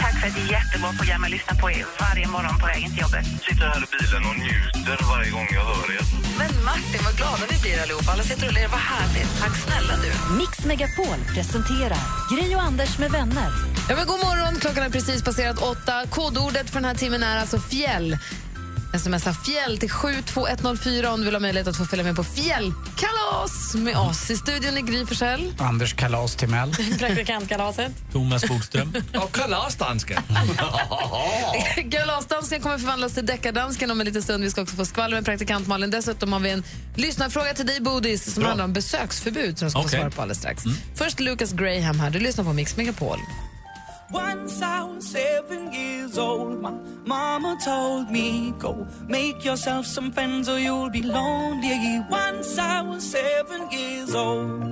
Tack för ett jättebra program. Jag lyssnar på er varje morgon på vägen till jobbet. sitter här i bilen och njuter varje gång jag hör er. Men Martin, vad glada vi blir allihopa. Alla sitter och ler. Vad härligt. Tack snälla du. Mix Megapol presenterar Gri och Anders med vänner. Ja, men god morgon, klockan har precis passerat åtta. Kodordet för den här timmen är alltså fjäll. Smsa fjäll till 72104 om du vill ha möjlighet att få följa med på fjällkalas med oss. I studion är Gry Forssell. Anders Kalas Timell. Praktikantkalaset. Thomas Bodström. Och kalasdansken. Kalasdansken kommer förvandlas till deckardansken om en liten stund. Vi ska också få skvaller med praktikant Malin. Dessutom har vi en lyssnarfråga till dig, Bodis, som Bra. handlar om besöksförbud som du ska få Okej. Mm. svara på alldeles strax. Först Lucas Graham här. Du lyssnar på Mix Megapol. Once I was seven years old, my mama told me, Go make yourself some friends or you'll be lonely. Once I was seven years old.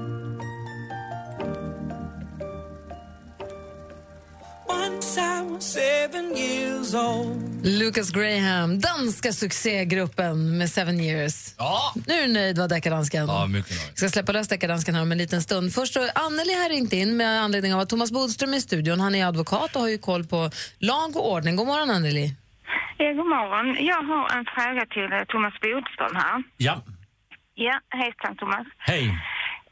Once I was seven years old. Lucas Graham, danska succégruppen med Seven Years. Ja. Nu är du nöjd, va, deckardansken? Ja, mycket nöjd. Vi ska släppa lös deckardansken här om en liten stund. Först så, Anneli har ringt in med anledning av att Thomas Bodström är i studion. Han är advokat och har ju koll på lag och ordning. God morgon, Anneli. Ja, Eh, god morgon. Jag har en fråga till eh, Thomas Bodström här. Ja, Ja, hejsan Thomas. hej.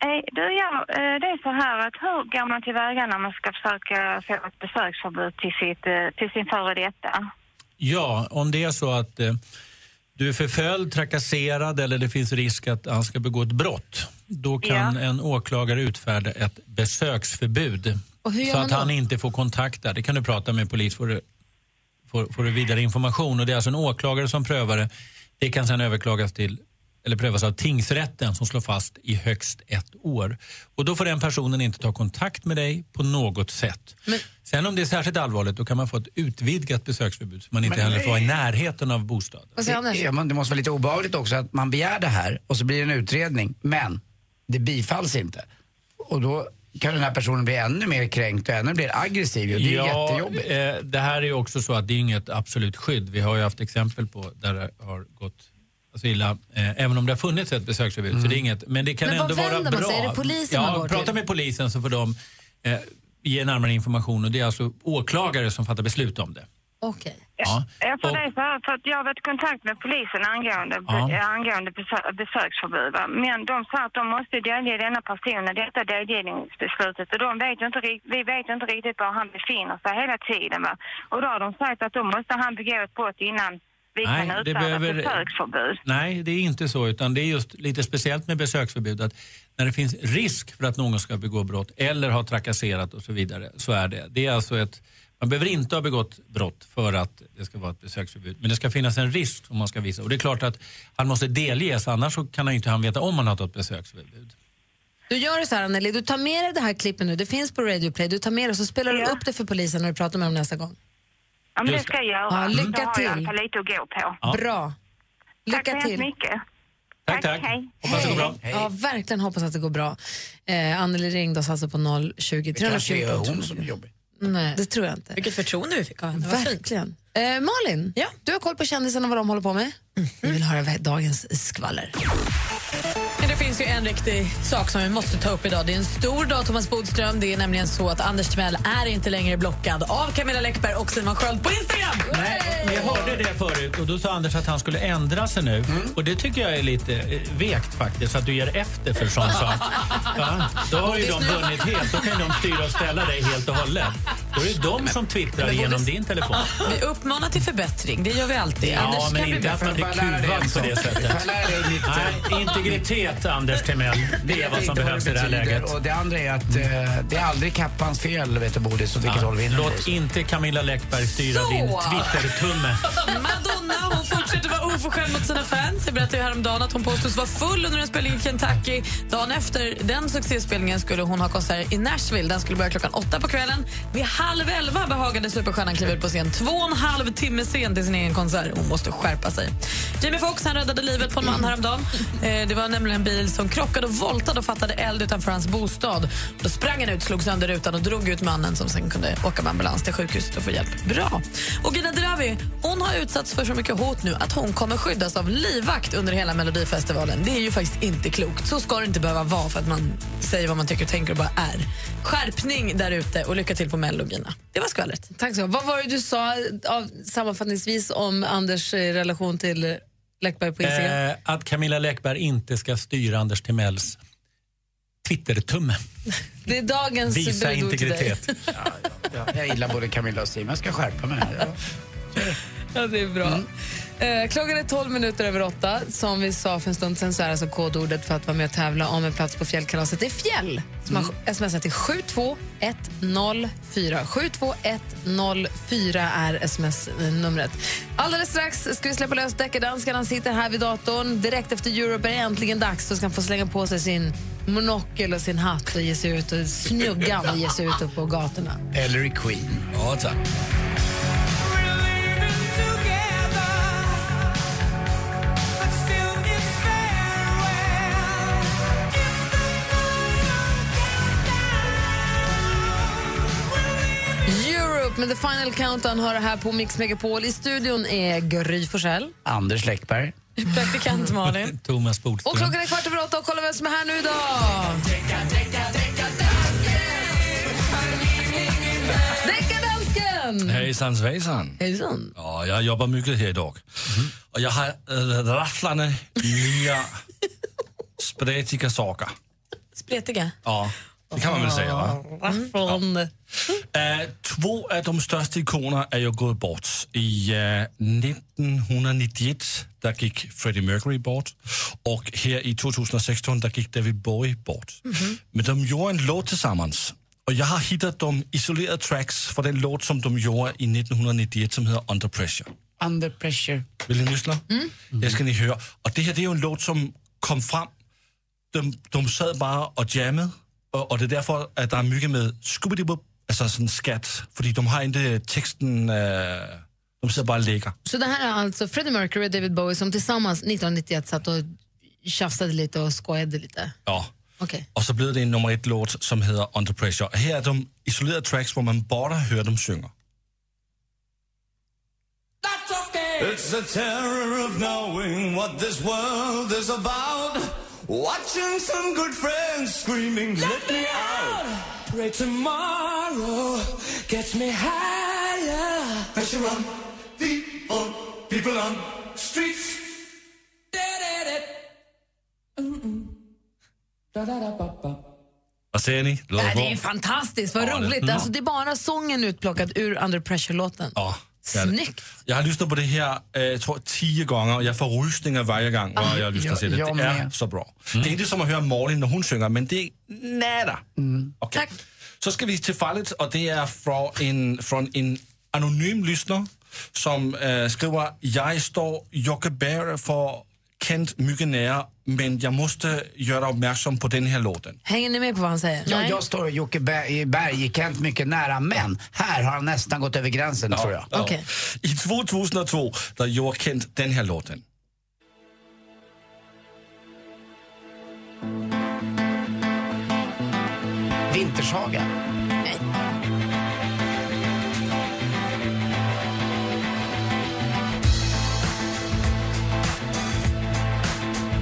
Eh, Du, ja, eh, det är så här att hur går man tillväga när man ska försöka få ett besöksförbud till, sitt, eh, till sin före detta? Ja, om det är så att eh, du är förföljd, trakasserad eller det finns risk att han ska begå ett brott, då kan en åklagare utfärda ett besöksförbud. Och hur gör så man att då? han inte får kontakt där. Det kan du prata med polis för får, får du vidare information. Och det är alltså en åklagare som prövar det. Det kan sedan överklagas till eller prövas av tingsrätten som slår fast i högst ett år. Och Då får den personen inte ta kontakt med dig på något sätt. Sen om det är särskilt allvarligt då kan man få ett utvidgat besöksförbud så man inte Men- heller får vara i närheten av bostaden. Ja, men det måste vara lite obehagligt också att man begär det här och så blir det en utredning, men det bifalls inte. Och då kan den här personen bli ännu mer kränkt och ännu mer aggressiv. Och det är ju jättejobbigt. eh, det här är ju också så att det är inget absolut skydd. Vi har ju haft exempel på där det har gått alltså illa, eh, även om det har funnits ett besöksförbud. Så det är inget, men det kan Mm. Men vad ändå vara vänder bra. man sig? Är det polisen ja, man går till? prata med polisen så får de eh, ge närmare information. Och det är alltså åklagare som fattar beslut om det. Okej. Ja. Jag får det så här, för att jag har varit i kontakt med polisen angående, Ja. be, eh, angående besö- besöksförbud. va. Men de sa att de måste delge denna personen detta delgivningsbeslutet och de vet ju inte, rikt- vi vet ju inte riktigt var han befinner sig hela tiden. Va? Och då har de sagt att då måste han begå ett brott innan vi kan Nej, det utfärda behöver, besöksförbud. nej, det är inte så. Utan det är just lite speciellt med besöksförbud att när det finns risk för att någon ska begå brott eller har trakasserat och så vidare, så är det. Det är alltså ett, man behöver inte ha begått brott för att det ska vara ett besöksförbud. Men det ska finnas en risk som man ska visa. Och det är klart att han måste delges, annars så kan han inte han veta om han har tagit besöksförbud. Du gör det så här, Anneli. Du tar med dig det här klippet nu. Det finns på Radio Play. Du tar med det och så spelar du upp det för polisen när du pratar med dem nästa gång. Ja, men det Just ska jag göra. Ja, lycka då har jag i till. alla fall lite att gå på. Bra. Lycka Tack så till. hemskt mycket. Tack, tack. Hej. Hoppas det går bra. Ja, verkligen hoppas att det går bra. Eh, Anneli ringde oss alltså på 020 Det kanske är 314 hon som är jobbig. Nej, det tror jag inte. Vilket förtroende vi fick av henne. Verkligen. Eh, Malin, du har koll på kändisarna och vad de håller på med. Mhm. Vi vill höra vad- dagens skvaller. Men Det finns ju en riktig sak som vi måste ta upp idag. Det är en stor dag, Thomas Bodström. Det är nämligen så att Anders Timell är inte längre blockad av Camilla Läckberg och Simon Sköld på Instagram. Nej, jag hörde det förut och då sa Anders att han skulle ändra sig nu. Och det tycker jag är lite eh, vekt faktiskt, att du ger efter för sån sak. Ja, då har ju de vunnit helt, då kan de styra och ställa dig helt och hållet. Då är det de som twittrar genom din telefon. Vi uppmanar till förbättring, det gör vi alltid. Anders Ja, kan men bli inte att bättre. man blir kuvad på det sättet. Nej, integritet, Anders Timell, det är vad som inte vad behövs i det här betyder. läget. Och det andra är att eh, det är aldrig kappans fel, vet du, Bodis, åt vilket håll vinner Låt inte Camilla Läckberg styra din Twitter-tumme. Madonna hon fortsätter vara hon får skäll mot sina fans. Jag berättade ju häromdagen att hon påstås vara full under en spelning i Kentucky. Dagen efter den succéspelningen skulle hon ha konsert i Nashville. Den skulle börja klockan åtta på kvällen. Vid halv elva behagade superstjärnan kliva ut på scen. Två och en halv timme sen till sin egen konsert. Hon måste skärpa sig. Jamie Foxx han räddade livet på en man häromdagen. Eh, det var nämligen en bil som krockade och voltade och fattade eld utanför hans bostad. Då sprang han ut, slog sönder rutan och drog ut mannen som sen kunde åka med ambulans till sjukhuset och få hjälp. Bra! Och Gina Dravi, hon har utsatts för så mycket hot nu att hon kommer skyddas av livvakt under hela Melodifestivalen. Det är ju faktiskt inte klokt. Så ska det inte behöva vara för att man säger vad man tycker och tänker och bara är. Skärpning där ute och lycka till på Mello, Gina. Det var skvallret. Tack så Vad var det du sa eh, av, sammanfattningsvis om Anders eh, relation till Läckberg på Instagram? Eh, att Camilla Läckberg inte ska styra Anders Timells Twittertumme. Det är dagens Visa budord till dig. integritet. Jag gillar både Camilla och Simon. Jag ska skärpa mig. Ja, det är bra. Eh, klockan är 12 minuter över åtta. Som vi sa för en stund sen så är alltså kodordet för att vara med och tävla om en plats på fjällkalaset. Det är fjäll som har smsat till 72104. 72104 är sms-numret. Alldeles strax ska vi släppa lös deckardansken. Han sitter här vid datorn. Direkt efter Europe är det äntligen dags. Då ska han få slänga på sig sin monokel och sin hatt och ge sig ut och snuggan och ge sig ut upp på gatorna. Hillary Queen. Ja, tack. Europe med The Final Countdown hör här på Mix Megapol. I studion är Gry Forssell. Anders Läckberg. Praktikant Malin. Thomas Bodström. Och klockan är kvart över åtta och kolla vem som är här nu idag. Deckardansken! Mm. Hejsan svejsan. Hejsan. Ja, jag jobbar mycket här idag. Mm. Och jag har äh, rafflande nya spretiga saker. Spretiga. Ja, det kan man väl säga va? Mm. Rafflande. Äh, två av de största ikonerna är ju gått bort. I äh, 1991 där gick Freddie Mercury bort och här i 2016 där gick David Bowie bort. Men de gjorde en låt tillsammans. Och jag har hittat de isolerade tracks från den låt som de gjorde i 1991 som heter Under Pressure. Under pressure. Vill ni lyssna? Det ska ni höra. Och det här det är ju en låt som kom fram. De, de satt bara och jammade. Och, och det är därför att det är mycket med skubbidi alltså sån skatt. För de har inte texten... eh, de sitter bara och leker. Så det här är alltså Freddie Mercury och David Bowie som tillsammans 1991 satt och tjafsade lite och skojade lite. Ja. Okej. Och så blev det en nummer ett-låt som heter Under Pressure. Här är de isolerade tracks där man bara hör dem sjunga. It's the terror of knowing what this world is about. Watching some good friends screaming, let, me out. Pray tomorrow gets me higher. Pressure on people, people on streets. Vad säger ni? Det, Låter här, det bra? är fantastiskt, vad Ja, det- roligt. Mm. Alltså, det är bara sången utplockad ur Under Pressure-låten. Ja, det är det. Snyggt. Jag har lyssnat på det här eh, jag tror tio gånger och jag får rysningar varje gång när Ah, jag lyssnar till det. jag Det är med. så bra. Det är inte som att höra Malin när hon sjunger, men det är nära. Okay. Så ska vi till fallet och det är från en, från en anonym lyssnare som eh, skriver Jag står Jocke Berg för Kent mycket nära men jag måste göra dig uppmärksam på den här låten. Hänger ni med på vad han säger? Ja, Nej? jag står och Jocke Berg, Berg gick Kent mycket nära, men här har han nästan gått över gränsen tror jag. Ja. Okej. I 2002 där gjorde Kent den här låten. Vintershaga.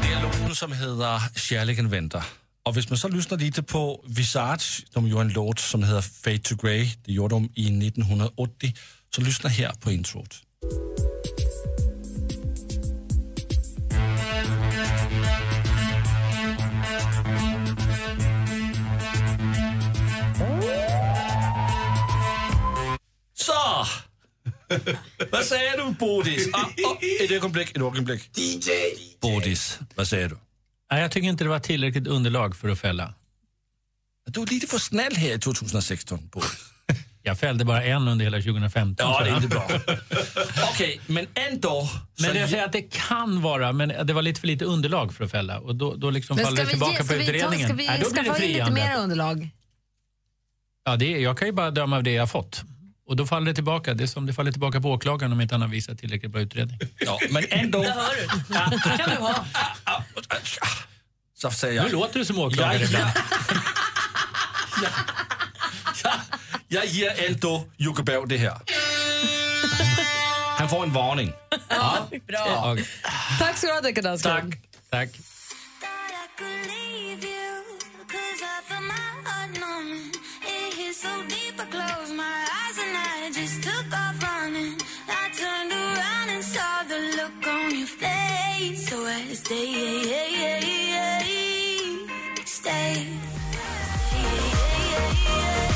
Det är låten som heter Kärleken väntar. Och hvis man så lyssnar lite på Visage, de gjorde en låt som heter Fade to Grey. Det gjorde de i 1980. Så lyssna här på introt. Så! Vad säger du, Bodis? Ah, ah, ett ögonblick, ett ögonblick. DJ! Bodis, vad säger du? Nej, jag tycker inte det var tillräckligt underlag för att fälla. Du är lite för snäll här i 2016, Bodis. Jag fällde bara en under hela 2015. Ja, det är inte bra. Okej, men ändå. Men så- jag säger att det kan vara, men det var lite för lite underlag för att fälla. Och då, då liksom Men faller ska det vi, tillbaka ge, ska på vi, ta, utredningen. ska vi Nej, då blir det skaffa in lite friande. mer underlag? Ja, det, är- jag kan ju bara döma av det jag har fått. Och då faller det tillbaka. Det är som det faller tillbaka på åklagaren om inte han har visat tillräckligt bra utredning. Ja, men ändå. Det hör du. kan du ha. Så säger jag. Nu låter du som åklagare Ja, ibland. Jag ger ändå Jocke Berg det här. Han får en varning. Ja, bra. Okej. Tack ska du ha, deckardansken. Tack. Tack.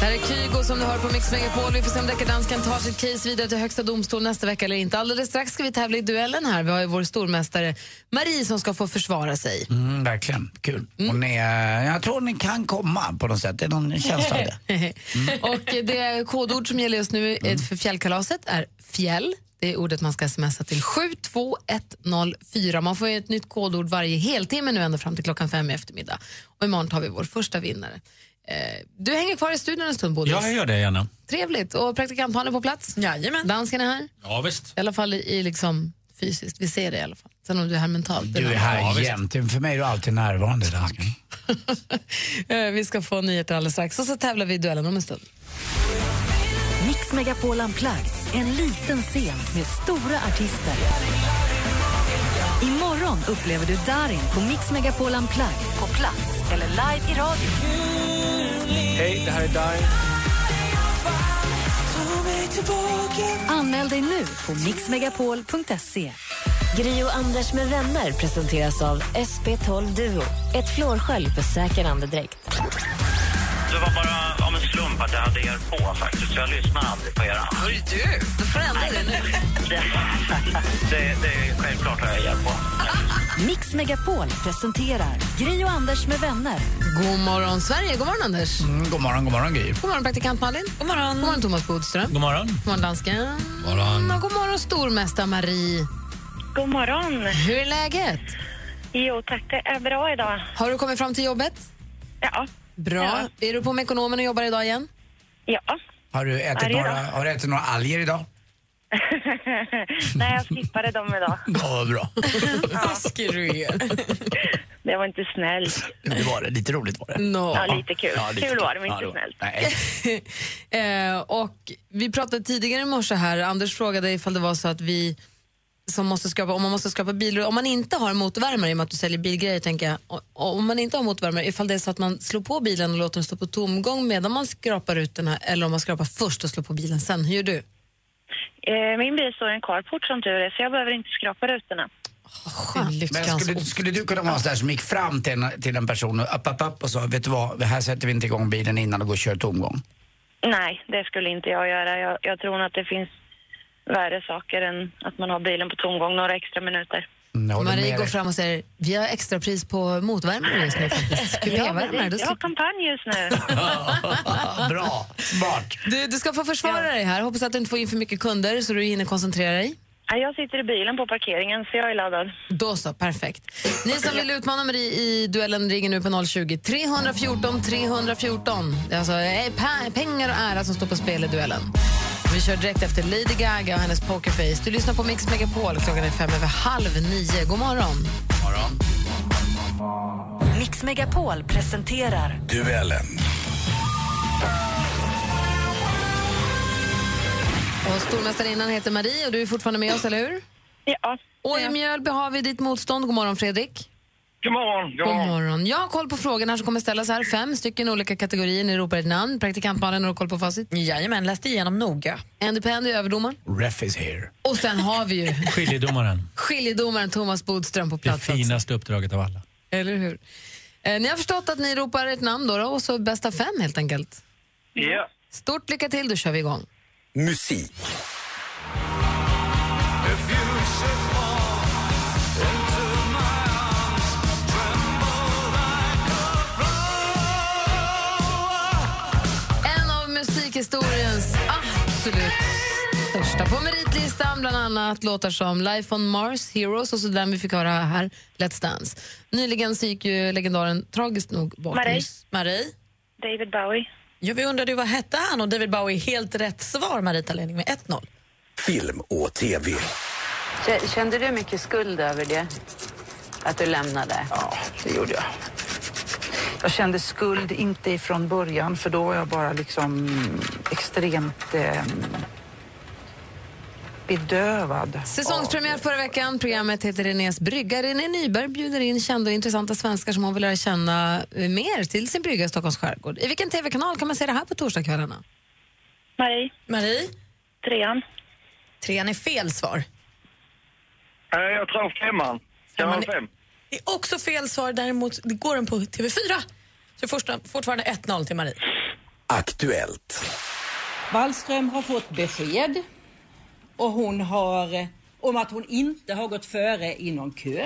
Det här är Kygo som du hör på Mix Megapol. Vi får se om deckardansken tar sitt case vidare till Högsta domstol nästa vecka eller inte. Alldeles strax ska vi tävla i duellen här. Vi har ju vår stormästare Marie som ska få försvara sig. Mm, verkligen, kul. Hon är, jag tror ni kan komma på något sätt. Det är någon känsla av det. Mm. Och det kodord som gäller just nu är för fjällkalaset är fjäll. Det är ordet man ska smsa till 72104. Man får ju ett nytt kodord varje heltimme nu ända fram till klockan fem i eftermiddag. Och imorgon tar vi vår första vinnare. Eh, Du hänger kvar i studion en stund, Bodis. Ja, jag gör det gärna. Trevligt. Och praktikant är på plats. Jajamän. Dansken är här. Ja, visst. I alla fall i, i liksom fysiskt. Vi ser det i alla fall. Sen om du är här mentalt. det Du är en här annan sak. jämt. För mig är du alltid närvarande. Dansken. Eh, Vi ska få nyheter alldeles strax och så tävlar vi i duellen om en stund. Mix Megapol Unplugged, en liten scen med stora artister. Imorgon upplever du Darin på Mix Megapol Unplugged på plats eller live i radio. Hej, det här är Darin. Anmäl dig nu på mixmegapol.se. Gri och Anders med vänner presenteras av SP12 Duo. Ett flårskölj för säker andedräkt. Det var bara av en slump att jag hade er på faktiskt. Jag lyssnar aldrig på er annars. Hörru du, du får ändra det nu. Det, det är självklart har jag er på. Mix Megapol presenterar Gri och Anders med vänner. God morgon, Sverige. God morgon, Anders. Mm, god morgon, god morgon Gry. God morgon, praktikant Malin. God morgon, god morgon Thomas Bodström. God morgon. God morgon, dansken. morgon. Och god morgon, stormästare Marie. God morgon. Hur är läget? Jo tack, det är bra idag. Har du kommit fram till jobbet? Ja. Bra. Är du på med ekonomen och jobbar idag igen? Ja. Har du ätit Varje några, dag. har du ätit några alger idag? Nej, jag skippade dem idag. Ja, vad bra. Taskig du är. Det var inte snällt. Det var det. Lite roligt var det. No. Ja, lite kul. Kul var det, men inte snällt. Nej. eh, och vi pratade tidigare i morse här, Anders frågade ifall det var så att vi som måste skapa, om man måste skapa bilar, om man inte har motorvärmare, i och med att du säljer bilgrejer, tänker jag, o- om man inte har motorvärmare, ifall det är så att man slår på bilen och låter den stå på tomgång medan man skrapar ut den här, eller om man skrapar först och slår på bilen sen, hur gör du? Eh, Min bil står i en carport som tur är, så jag behöver inte skrapa rutorna. Men skulle, skulle du kunna vara en sån där som gick fram till en, till en person och, upp, upp, upp och sa, vet du vad, här sätter vi inte igång bilen innan och går och kör tomgång. Nej, det skulle inte jag göra. Jag, jag tror nog att det finns värre saker än att man har bilen på tomgång några extra minuter. Mm, Marie med går dig. fram och säger, vi har extra pris på motorvärmare just nu faktiskt. Ja, men det Kupévärmare, är då en bra kampanj just nu. Bra, smart. Du, du ska få försvara dig här. Hoppas att du inte får in för mycket kunder så du hinner koncentrera dig. Ja, Jag sitter i bilen på parkeringen, så jag är laddad. Då så, perfekt. Ni som vill utmana Marie i duellen ringer nu på 020 314 314. Det är alltså eh, pe- pengar och ära som står på spel i duellen. Vi kör direkt efter Lady Gaga och hennes pokerface. Du lyssnar på Mix Megapol. Klockan är fem över halv nio. God morgon. morgon. Mix Megapol presenterar Duellen. Och stormästarinnan heter Marie och du är fortfarande med oss, eller hur? Ja. Och i Mjölby har vi ditt motstånd. God morgon, Fredrik. God morgon. God morgon. Jag har koll på frågorna som kommer ställas här. Fem stycken olika kategorier. Ni ropar ett namn. Praktikant Malin har du koll på facit. Jajamän, läste igenom noga. Andy Pandy, överdomaren. Ref is here. Och sen har vi ju Skiljedomaren. skiljedomaren Thomas Bodström på Det plats. finaste uppdraget av alla. Eller hur? Eh, ni har förstått att ni ropar ett namn då, då och så bästa fem helt enkelt. Ja. Stort lycka till, då kör vi igång. Musik. En av musikhistoriens största. På meritlistan bland annat låtar som Life on Mars, Heroes och så den vi fick höra här, Let's Dance. Nyligen så gick ju legendaren tragiskt nog bort. Marie. Marie. David Bowie. Ja, vi undrade ju vad hette han och David Bowie helt rätt svar. Marita ledning med 1-0. Film och TV. Kände du mycket skuld över det? Att du lämnade? Ja, det gjorde jag. Jag kände skuld, inte ifrån början, för då var jag bara liksom extremt eh, bedövad. Säsongspremiär förra veckan. Programmet heter Renés brygga. René Nyberg bjuder in kända och intressanta svenskar som hon vill lära känna eh, mer till sin brygga i Stockholms skärgård. I vilken tv-kanal kan man se det här på torsdagskvällarna? Marie. Marie? Trean. Trean är fel svar. Nej, Eh, jag tror femman. Kan vara fem. Det är också fel svar, däremot det går den på TV4. Så första, fortfarande 1-0 till Marie. Aktuellt. Wallström har fått besked och hon har, om att hon inte har gått före i någon kö.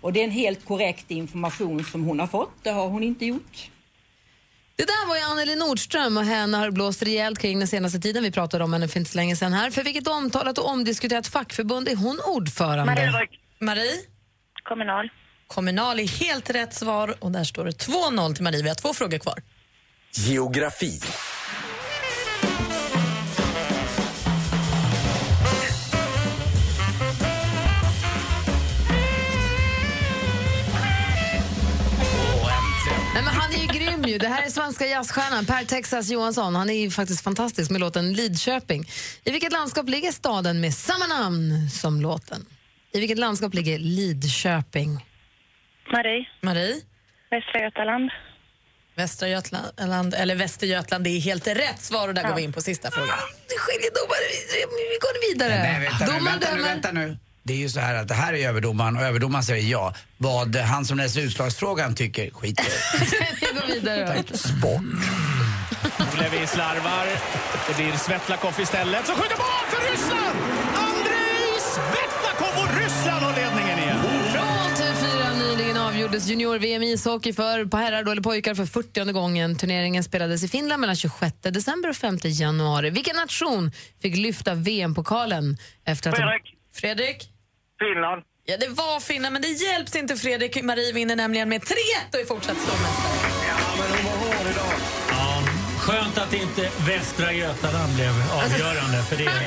Och det är en helt korrekt information som hon har fått. Det har hon inte gjort. Det där var ju Anneli Nordström och henne har det blåst rejält kring den senaste tiden. Vi pratade om henne för inte så länge sedan här. För vilket omtalat och omdiskuterat fackförbund är hon ordförande? Marie? Kommunal. Kommunal är helt rätt svar och där står det 2-0 till Marie. Vi har två frågor kvar. Geografi. Nej, men han är ju grym ju. Det här är svenska jazzstjärnan Per Texas Johansson. Han är ju faktiskt fantastisk med låten Lidköping. I vilket landskap ligger staden med samma namn som låten? I vilket landskap ligger Lidköping? Marie. Marie? Västra Götaland. Västra Götaland, eller Västergötland, det är helt rätt svar och där går vi in på sista frågan. Ah, Det skiljer domare. Vi- Vi går vidare. Nej, nej, vänta, nu, Domaren vänta, nu, dömer. vänta nu. Det är ju så här att det här är överdomaren och överdomaren säger ja. Vad han som läser utslagsfrågan tycker, skit i. Vi går vidare. då. Olevi slarvar. Det blir Svetlakov istället som skjuter mål för Ryssland! Andrei Svetlakov och Ryssland har ledningen igen. Från TV4 nyligen avgjordes junior-VM i ishockey för på herrar då, eller pojkar för 40 gången. Turneringen spelades i Finland mellan 26 december och 5 januari. Vilken nation fick lyfta VM-pokalen? Efter att Fredrik. Fredrik? Finland. Ja, det var Finland, men det hjälpte inte Fredrik. Marie vinner nämligen med 3-1 och är fortsatt stormästare. Ja, skönt att inte Västra Götaland blev avgörande för det är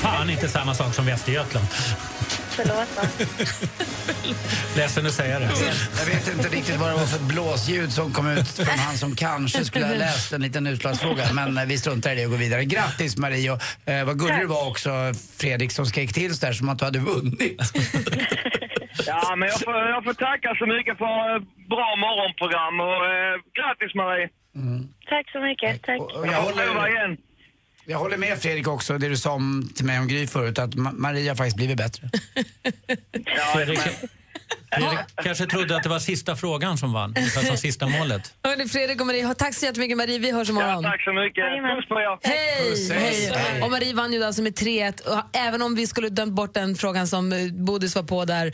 fan inte samma sak som Västergötland. Ledsen att säga det. Jag vet inte riktigt vad det var för ett blåsljud som kom ut från han som kanske skulle ha läst en liten utslagsfråga. Men eh, vi struntar i det och går vidare. Grattis Marie och eh, vad gullig du var också Fredrik som skrek till så där som att du hade vunnit. Ja, men jag får, jag får tacka så mycket för eh, bra morgonprogram och eh, grattis Marie! Tack så mycket. Tack. Och jag, håller, jag håller med Fredrik också, det du sa om, till mig om Gry förut, att Ma- Maria faktiskt blivit bättre. Fredrik, Fredrik kanske trodde att det var sista frågan som vann, alltså sista målet. Hörni, Fredrik och Marie, ha- tack så jättemycket Marie. Vi hörs imorgon. Tack så mycket! Puss på er! Hej! Hej. Och Marie vann ju alltså med 3-1. Och även om vi skulle dömt bort den frågan som eh, Bodis var på där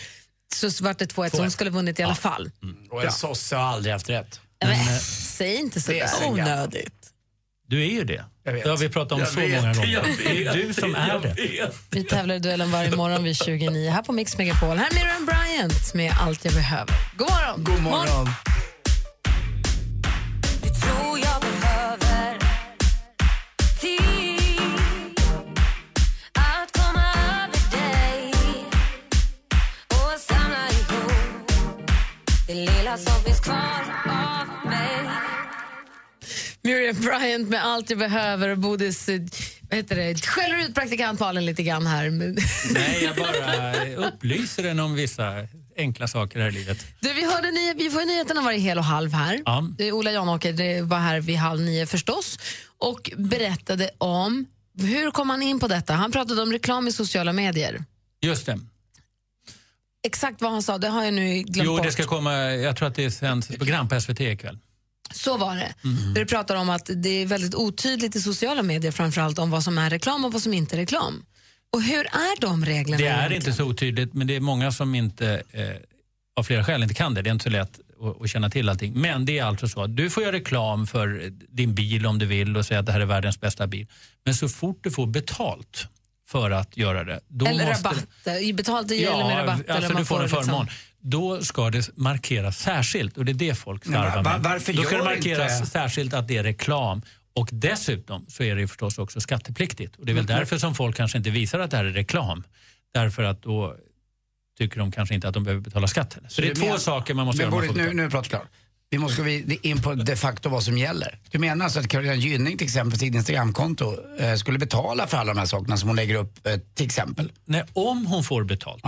så vart det 2-1 så hon skulle vunnit i alla fall. Och en sosse har aldrig haft rätt. Säg inte så Det är där. så Onödigt. Du är ju det. Det har vi pratat om Jag så vet, många jag gånger. Det är vet, ju du som jag är det. Vi tävlar i duellen varje morgon vid 29 här på Mix Megapol. Här är Miriam Bryant med Allt jag behöver. God morgon! God morgon! tror jag behöver tid att komma över dig och samla ihop det lilla som finns kvar av mig Miriam Bryant med Allt jag behöver och Bodis eh, vad heter det, skäller ut praktikantmalen lite grann här. Men- Nej, jag bara upplyser den om vissa enkla saker här i livet. Du, vi, hörde ny, vi får ju nyheterna varje hel och halv här. Ja. Det är Ola Janåker det var här vid halv nio förstås och berättade om, hur kom han in på detta? Han pratade om reklam i sociala medier. Just det. Exakt vad han sa, det har jag nu glömt Jo, bort. det ska komma, jag tror att det sänds ett program på SVT ikväll. Så var det. Mhm. Där du pratar om att det är väldigt otydligt i sociala medier framförallt om vad som är reklam och vad som inte är reklam. Och hur är de reglerna? Det är egentligen? inte så otydligt, men det är många som inte eh, av flera skäl inte kan det. Det är inte så lätt och, och känna till allting. Men det är alltså så att du får göra reklam för din bil om du vill och säga att det här är världens bästa bil. Men så fort du får betalt för att göra det. Då eller måste, rabatt. eh, Betalt i eller med rabatt. eller Alltså man du får en liksom- förmån. Då ska det markeras särskilt och det är det folk Men va- slarvar va- med. varför Då ska gör det det markeras inte? särskilt att det är reklam. Och dessutom så är det ju förstås också skattepliktigt. Och det är väl Mhm. därför som folk kanske inte visar att det här är reklam. Därför att då tycker de kanske inte att de behöver betala skatten. Så, det är du två menar- saker man måste men göra. om man Boris, får nu, nu är pratet klart. Vi måste gå vid- in på de facto vad som gäller. Du menar alltså att Carolina Gynning till exempel sitt Instagramkonto eh, skulle betala för alla de här sakerna som hon lägger upp eh, till exempel? Nej, om hon får betalt,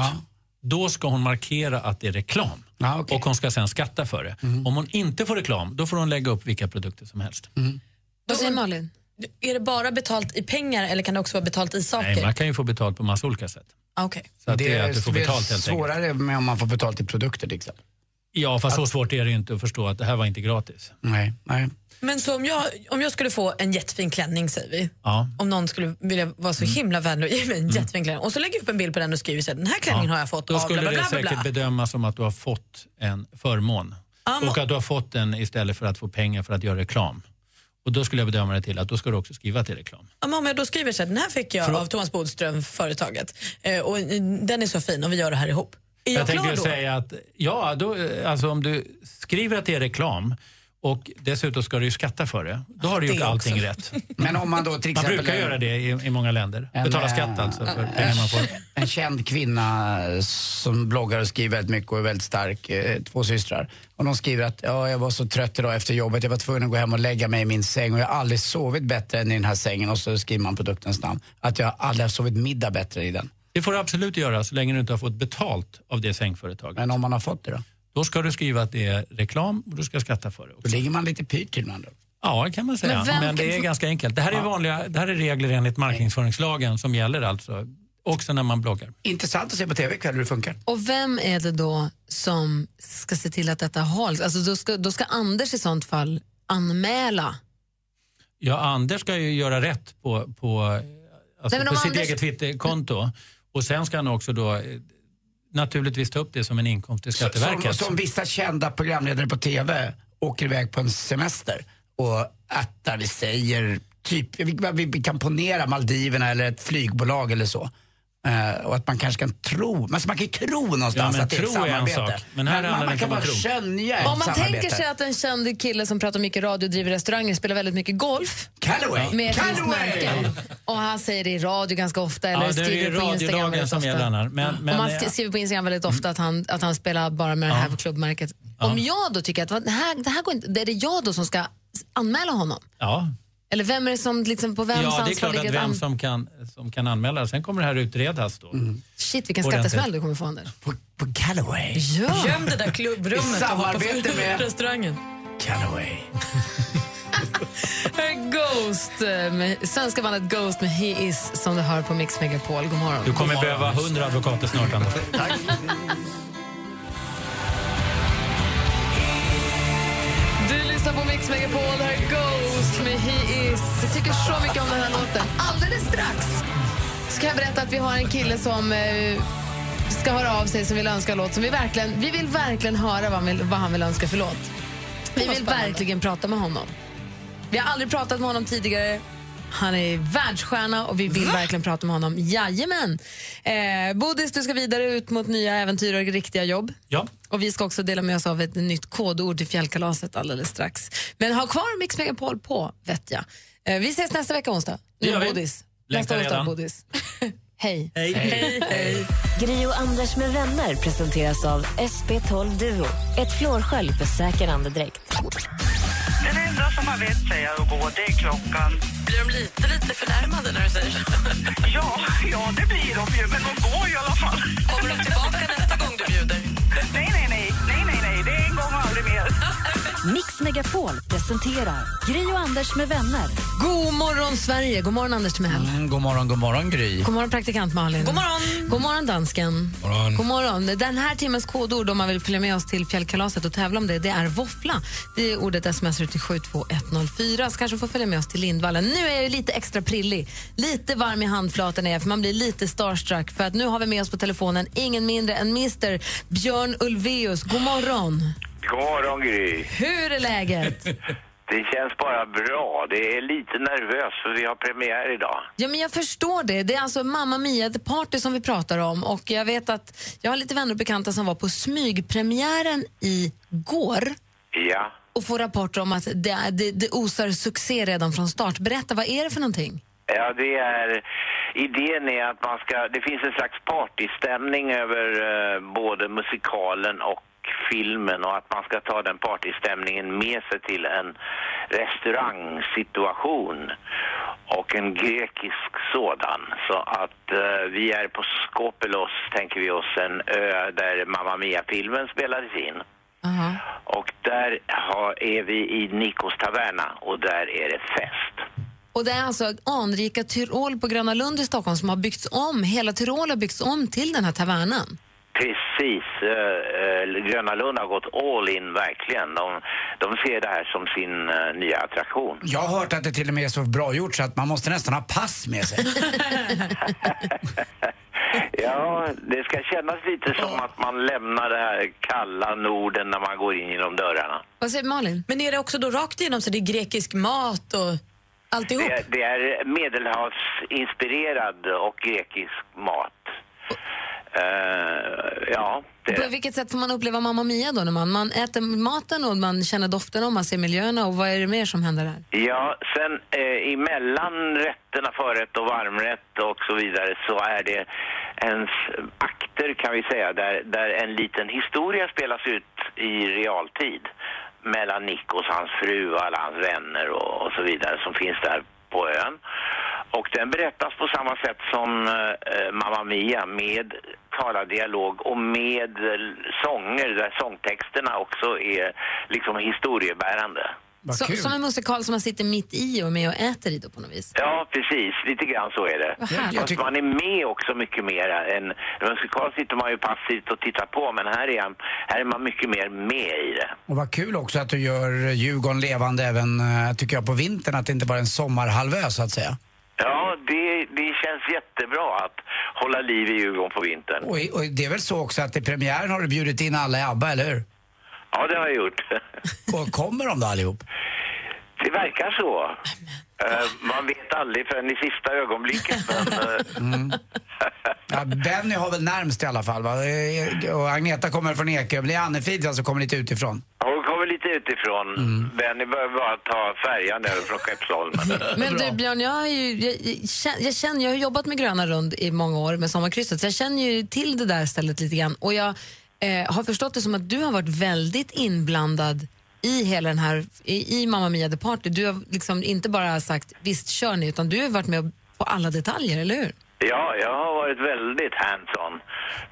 då ska hon markera att det är reklam. Och hon ska sen skatta för det. Mm. Om hon inte får reklam, då får hon lägga upp vilka produkter som helst. Vad säger Malin? Är det bara betalt i pengar eller kan det också vara betalt i saker? Nej, man kan ju få betalt på massa olika sätt. Ah, Okej. Så att det, är att du får väl betalt helt enkelt. svårare med om man får betalt i produkter till exempel. Ja, fast så svårt är det ju inte att förstå att det här var inte gratis. Nej, nej. Men så om jag, om jag skulle få en jättefin klänning, säger vi. Ja. Mm. Om någon skulle vilja vara så himla vänlig och ge mig en jättefin klänning. Och så lägger jag upp en bild på den och skriver så här, den här klänningen Ja. har jag fått Då av skulle bla, bla, det bla, bla, säkert bla. bedömas som att du har fått en förmån. Ja, men- Och att du har fått den istället för att få pengar för att göra reklam. Och då skulle jag bedöma det till att då ska du också skriva till reklam. Ja, men Om jag då skriver så här, den här fick jag Förlåt? av Thomas Bodström, företaget. Eh, och eh, den är så fin och vi gör det här ihop. Är jag, tänkte klar ju då? säga att ja, då, eh, alltså om du skriver att det är reklam och dessutom ska du ju skatta för det, då har du Det gjort allting också. rätt. Men om man då till exempel... Man brukar göra det i, i många länder. En, Betala eh, skatt alltså för en- pengar man får. En känd kvinna som bloggar och skriver väldigt mycket och är väldigt stark, eh, två systrar. Och de skriver att ja, jag var så trött idag efter jobbet, jag var tvungen att gå hem och lägga mig i min säng och jag har aldrig sovit bättre än i den här sängen. Och så skriver man produktens namn. Att jag aldrig har sovit middag bättre i den. Det får du absolut göra så länge du inte har fått betalt av det sängföretaget. Men om man har fått det då? Då ska du skriva att det är reklam och du ska skatta för det. Också. Då ligger man lite pyrt till med andra Ja, det kan man säga. Men Men, vem det kan- är ganska enkelt. Det här är, vanliga, det här är regler enligt marknadsföringslagen som gäller alltså. Också när man bloggar. Intressant att se på TV ikväll hur det funkar. Och vem är det då som ska se till att detta hålls? Alltså då, ska, då ska Anders i sånt fall anmäla. Ja, Anders ska ju göra rätt på, på, eh, alltså Nej, men på om sitt Anders- eget Twitterkonto. Och sen ska han också då eh, naturligtvis ta upp det som en inkomst till Som, Skatteverket. som vissa kända programledare på TV åker iväg på en semester och attar, vi säger typ, vi, vi- vi kan ponera Maldiverna eller ett flygbolag eller så. Eh, och att man kanske kan tro, men alltså man kan ju tro någonstans men att det är ett tro är en samarbete. sak, men här handlar man, det man inte kan om bara att tro. skönja ett Eh, Om man samarbete. tänker sig att en känd kille som pratar mycket radio och driver restauranger spelar väldigt mycket golf. Callaway! Med ett visst Callaway! märke. Och han säger det i radio ganska ofta eller Ja, det är ju skriver på Instagram radiolagen väldigt som ofta. gäller annars. Men, men, och man eh, sk- skriver på Instagram väldigt ofta att han, att han spelar bara med det här Ja. klubbmärket. Ja. Om jag då tycker att "Va, det här, det här går inte, det är det jag då som ska s- anmäla honom? ja, Eller vem är det som liksom på vems ja, det är ansvar klart ligger att ett vem an- som kan, som kan anmäla. Sen kommer det här utredas då. Mm. Shit vilken ordentligt. skattesmäll du kommer få Anders. På, på Callaway? Ja. Göm det där klubbrummet I och hoppa samarbete på med- restaurangen. Callaway. Här är Ghost, eh, med, svenska bandet Ghost med He Is som du hör på Mix Megapol. God morgon. Du kommer behöva hundra advokater snart, Anders. Du lyssnar på Mix Megapol, här är Ghost med He Is. Jag tycker så mycket om den här låten. Alldeles strax ska jag berätta att vi har en kille som eh, ska höra av sig som vill önska en låt som vi verkligen, vi vill verkligen höra vad han vill, vad han vill önska för låt. Vi vill verkligen prata med honom. Vi har aldrig pratat med honom tidigare. Han är världsstjärna och vi vill verkligen prata med honom. Jajamän! Eh, Bodis, du ska vidare ut mot nya äventyr och riktiga jobb. Ja. Och Vi ska också dela med oss av ett nytt kodord till fjällkalaset alldeles strax. Men ha kvar Mix Megapol på, vet jag. Eh, vi ses nästa vecka onsdag. Det Nu gör vi. Bodis. Längtar Nästa onsdag redan. Bodis. Hej. Hej. Hej. Gri och Anders med vänner presenteras av SP12 Duo. Ett flårskölj för säker andedräkt. Den enda som har vett säger jag går, det är klockan. Blir de lite, lite förnärmade när du säger så? ja, ja, det blir de ju, men de går ju i alla fall. Kommer de tillbaka nästa gång du bjuder? Nej, nej, nej, nej, nej, nej, det är en gång och aldrig mer. Mix Megapol presenterar Gri och Anders med vänner. God morgon, Sverige. God morgon, Anders Timell. Mm, god morgon, god morgon Gry. God morgon, praktikant Malin. God morgon. God morgon, dansken. God morgon. God morgon. Den här timmens kodord om man vill följa med oss till fjällkalaset och tävla om det, det är våffla. Det är ordet sms ut till 72104. Så kanske får följa med oss till Lindvallen. Nu är jag ju lite extra prillig. Lite varm i handflatan är jag, för man blir lite starstruck. För att nu har vi med oss på telefonen ingen mindre än Mr Björn Ulvaeus. God morgon. God morgon, Gry. Hur är läget? Det känns bara bra. Det är lite nervöst för vi har premiär idag. Ja, men jag förstår det. Det är alltså Mamma Mia The Party som vi pratar om. Och jag vet att jag har lite vänner och bekanta som var på smygpremiären igår Ja. och får rapporter om att det, är- det, det osar succé redan från start. Berätta, vad är det för någonting? Ja, det är... Idén är att man ska... Det finns en slags partystämning över eh, både musikalen och filmen och att man ska ta den partystämningen med sig till en restaurangsituation och en grekisk sådan. Så att eh, vi är på Skopelos, tänker vi oss, en ö där Mamma Mia-filmen spelades in. Och där har, är vi i Nikos taverna och där är det fest. Och det är alltså anrika Tyrol på Gröna Lund i Stockholm som har byggts om. Hela Tyrol har byggts om till den här tavernan. Precis. eh, eh, Gröna Lund har gått all in, verkligen. De, de ser det här som sin eh, nya attraktion. Jag har hört att det till och med är så bra gjort så att man måste nästan ha pass med sig. Ja, det ska kännas lite som att man lämnar det här kalla Norden när man går in genom dörrarna. Vad säger Malin? Men är det också då rakt igenom så det är grekisk mat och alltihop? Det, det är medelhavsinspirerad och grekisk mat. Eh, ja, det På vilket sätt får man uppleva Mamma Mia då? När man, man äter maten och man känner doften och man ser miljöerna och vad är det mer som händer där? Ja, sen eh, emellan rätterna, förrätt och varmrätt och så vidare så är det ens akter kan vi säga där, där en liten historia spelas ut i realtid mellan Nikos, hans fru och alla hans vänner och, och så vidare som finns där på ön. Och den berättas på samma sätt som eh, Mamma Mia med talad dialog och med eh, sånger där sångtexterna också är liksom historiebärande. Så, som en musikal som man sitter mitt i och med och äter i då på något vis. Ja, precis. Lite grann så är det. härligt. Fast man är med också mycket mer. än- I en musikal sitter man ju passivt och tittar på, men här är, här är man mycket mer med i det. Och vad kul också att du gör Djurgården levande även, eh, tycker jag, på vintern. Att det inte bara är en sommarhalvö så att säga. Ja, det, det känns jättebra att hålla liv i Djurgården på vintern. Och, i- och det är väl så också att i premiären har du bjudit in alla i ABBA, eller hur? Ja, det har jag gjort. Och kommer de då allihop? Det verkar så. Eh, man vet aldrig förrän i sista ögonblicket, men... eh, Ja, Benny har väl närmst i alla fall, va? Eh, Och Agneta kommer från Ekerö. Blir Annefrid alltså kommer lite utifrån? Hon kommer lite utifrån. Benny behöver bara ta färjan över från Skeppsholmen. Men du Björn, jag, har ju, jag, jag, känner- jag, känner, jag har jobbat med Gröna Rund i många år med Sommarkrysset så jag känner ju till det där stället lite grann och jag eh, har förstått det som att du har varit väldigt inblandad i hela den här, i, i Mamma Mia The Party. Du har liksom inte bara sagt visst kör ni utan du har varit med på alla detaljer, eller hur? Ja, jag har varit väldigt hands-on.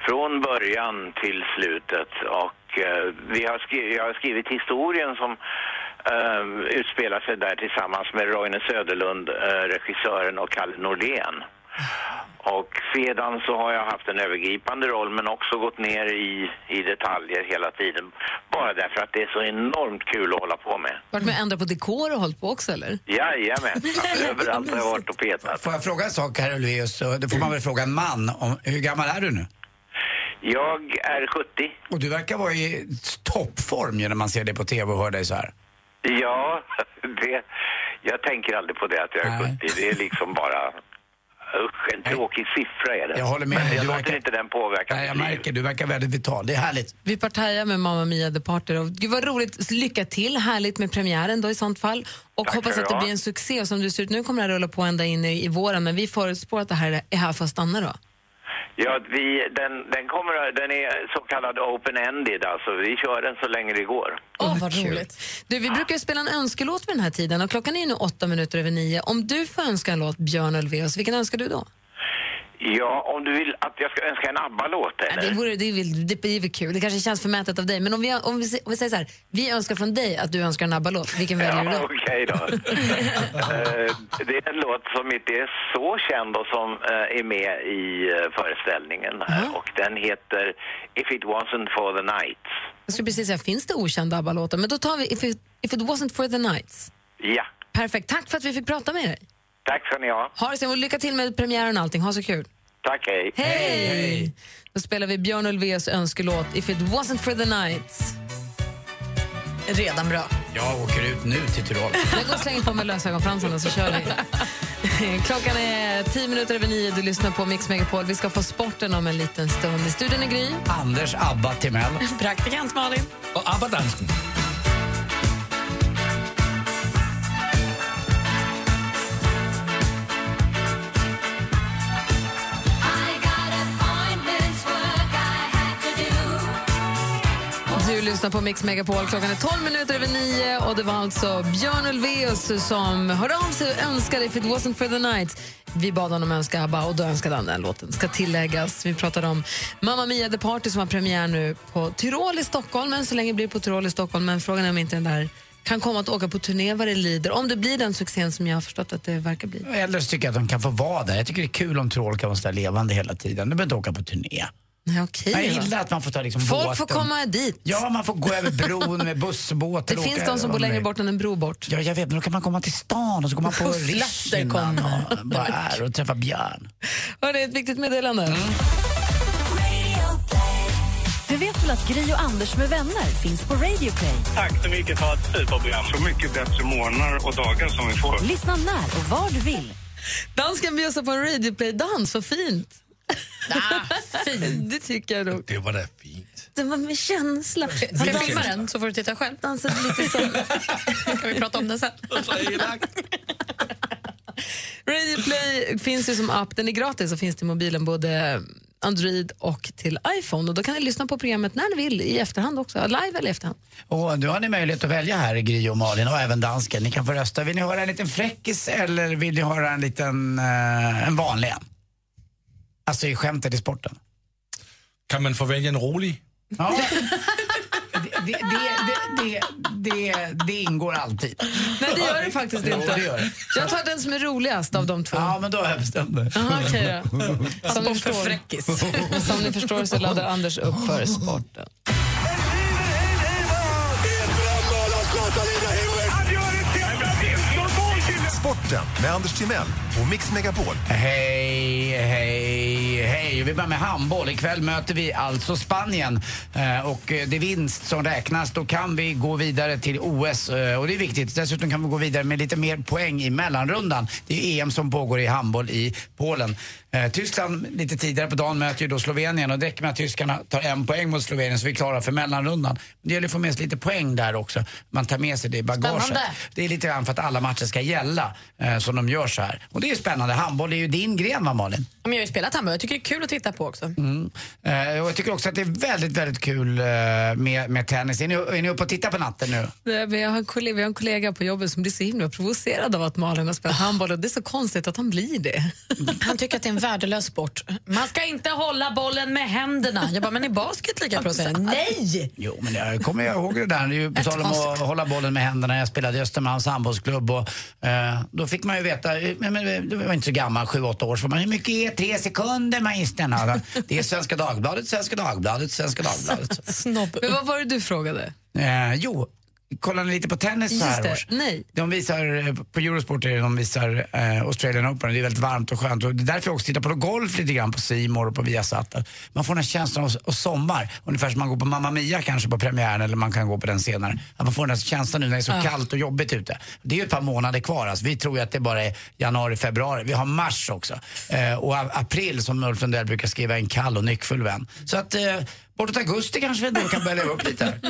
Från början till slutet. Och eh, vi har skrivit, jag har skrivit historien som eh, utspelar sig där tillsammans med Roine Söderlund, eh, regissören, och Kalle Nordén. Och sedan så har jag haft en övergripande roll men också gått ner i, i detaljer hela tiden. Bara därför att det är så enormt kul att hålla på med. Varit med och ändrat på dekor och hållit på också eller? Jajamän, överallt har jag varit och petat. Får jag fråga en sak, herr Ulvaeus? Och Då får man väl fråga en man. Om, hur gammal är du nu? Jag är 70. Och du verkar vara i toppform ju när man ser dig på TV och hör dig så här. Ja, det, jag tänker aldrig på det att jag är 70. Det är liksom bara... Usch, en tråkig siffra är det. Jag håller med Men dig. jag Du låter verkar- inte den påverka Nej, jag mitt liv. märker, du verkar väldigt vital. Det är härligt. Vi partajar med Mamma Mia The Party. Och Gud vad roligt. Lycka till. Härligt med premiären då i sånt fall. Och Tack hoppas ska att du det ha. blir en succé. Och som du ser ut nu kommer det här rulla på ända in i, i våren. Men vi förutspår att det här är här för att stanna då. Ja, vi, den, den, kommer, den är så kallad open-ended, alltså. Vi kör den så länge det går. Åh, vad roligt. Du, vi brukar ju spela en önskelåt vid den här tiden och klockan är ju nu åtta minuter över nio. Om du får önska en låt, Björn Ulvaeus, vilken önskar du då? Ja, om du vill att jag ska önska en ABBA-låt, Ja, eller? det, vore, det, vill, det blir väl kul. Det kanske känns förmätet av dig. Men om vi, om vi, om vi säger så här, vi önskar från dig att du önskar en ABBA-låt. Vilken väljer du Ja, då? okej då. Eh, det är en låt som inte är så känd och som eh, är med i eh, föreställningen. här. Och den heter If it wasn't for the night. Jag skulle precis säga, finns det okända ABBA-låtar? Men då tar vi If it, if it wasn't for the nights. Ja, Perfekt. Tack för att vi fick prata med dig. tack ska ni ha. Ha det så och lycka till med premiären och allting. Ha så kul. Tack, hej. Hej! Då spelar vi Björn Ulvaeus önskelåt If it wasn't for the night. redan bra. Jag åker ut nu till Tyrol. Jag går och slänger på mig lösögonfransarna så kör vi. Klockan är tio minuter över nio. Du lyssnar på Mix Megapol. Vi ska få sporten om en liten stund. I studion är Gry. Anders Abba Timell. Praktikant Malin. Och ABBA-dansken. Du lyssnar på Mix Megapol. Klockan är 12 minuter över nio och det var alltså Björn Ulvaeus som hörde av sig och önskade If it wasn't for the night. Vi bad honom önska ABBA och då önskade han den låten. Ska tilläggas. Vi pratade om Mamma Mia The Party som har premiär nu på Tyrol i Stockholm. Än så länge blir det på Tyrol i Stockholm, men frågan är om inte den där kan komma att åka på turné vad det lider. Om det blir den succén som jag har förstått att det verkar bli. Eller så tycker jag att de kan få vara där. Jag tycker det är kul om Tyrol kan vara så där levande hela tiden. Du behöver inte åka på turné. Nej, okej Jag då. gillar att man får ta liksom Folk båten. får komma dit. Ja, man får gå över bron med buss, båt. Det finns de som bor längre bort än en bro bort. Ja, jag vet, men då kan man komma till stan och så går man på Pufflatter Rishnan kommer. och bara är och träffar Björn. Hörde, ett viktigt meddelande. Du vet väl att Gri och Anders med vänner finns på Radio Play? Tack så mycket för ett superprogram. Så mycket bättre morgnar och dagar som vi får. Lyssna när och var du vill. Dansken bjöd på en radioplay-dans, vad fint. Ah, fint. Det tycker jag nog. Det var det fint. Det var med känsla. Ska jag filma den så får du titta själv? Dansa lite så. kan vi prata om det sen? Radioplay finns ju som app, den är gratis och finns till mobilen både Android och till iPhone. Och Då kan ni lyssna på programmet när ni vill, i efterhand också. Live eller i efterhand. Och nu har ni möjlighet att välja här, Gry och Malin och även dansken. Ni kan få rösta. Vill ni höra en liten fräckis eller vill ni höra en liten eh, en vanlig en? Alltså i skämtet i sporten. Kan man få välja en rolig? Ja. Det, det, det, det, det, det ingår alltid. Nej, det gör det faktiskt Jo, inte. det gör det. Jag tar den som är roligast av de två. Ja, men då har jag bestämt mig. Jaha, okej då. Som ni, Sport för förstår, som ni förstår så laddar Anders upp för sporten. Sporten med Anders Timell och Mix Megapol. Hej, hej, hej. Vi börjar med handboll. Ikväll möter vi alltså Spanien. Eh, och eh, det är vinst som räknas. Då kan vi gå vidare till OS eh, och det är viktigt. Dessutom kan vi gå vidare med lite mer poäng i mellanrundan. Det är ju EM som pågår i handboll i Polen. Eh, Tyskland lite tidigare på dagen möter ju då Slovenien och det räcker med att tyskarna tar en poäng mot Slovenien så vi är klara för mellanrundan. Men det gäller att få med sig lite poäng där också. Man tar med sig det i bagaget. Spännande. Det är lite grann för att alla matcher ska gälla eh, som de gör så här. Och det är ju spännande. Handboll är ju din gren va Malin? Ja, men Jag har ju spelat handboll. Jag tycker det är kul att titta på också. Mm. Eh, och jag tycker också att det är väldigt, väldigt kul eh, med, med tennis. Är ni, är ni uppe och tittar på natten nu? Nej, men Jag har, en kollega, vi har en kollega på jobbet som blir så himla provocerad av att Malin har spelat handboll och det är så konstigt att han blir det. Ah. Han tycker att det är en värdelös sport. Man ska inte hålla bollen med händerna. Jag bara, men är basket lika Alltså, bra? Säger jag, Nej! Jo, men jag kommer jag ihåg det där. Det är ju på tal om att hålla bollen med händerna. Jag spelade i Östermalms handbollsklubb och eh, då fick man ju veta, eh, men, men, det var inte så gammal, sju, åtta år, så man, hur mycket är tre sekunder magistern? Ja, Det är Svenska Dagbladet, Svenska Dagbladet, Svenska Dagbladet. Snobb. Men vad var det du frågade? Eh, jo, kollar ni lite på tennis så här Just det, års? nej. De visar, eh, på Eurosport är det, de visar eh, Australian Open, det är väldigt varmt och skönt. Och det är därför jag också tittar på golf lite grann på C More och på Viasat. Man får den här känslan av, av sommar, ungefär som man går på Mamma Mia kanske på premiären eller man kan gå på den senare. Att man får den här känslan nu när det är så Ja. kallt och jobbigt ute. Det är ju ett par månader kvar, alltså. vi tror ju att det bara är januari, februari. Vi har mars också. Eh, och a- april som Ulf Lundell brukar skriva, en kall och nyckfull vän. Så att eh, bortåt augusti kanske vi då kan börja leva upp lite här.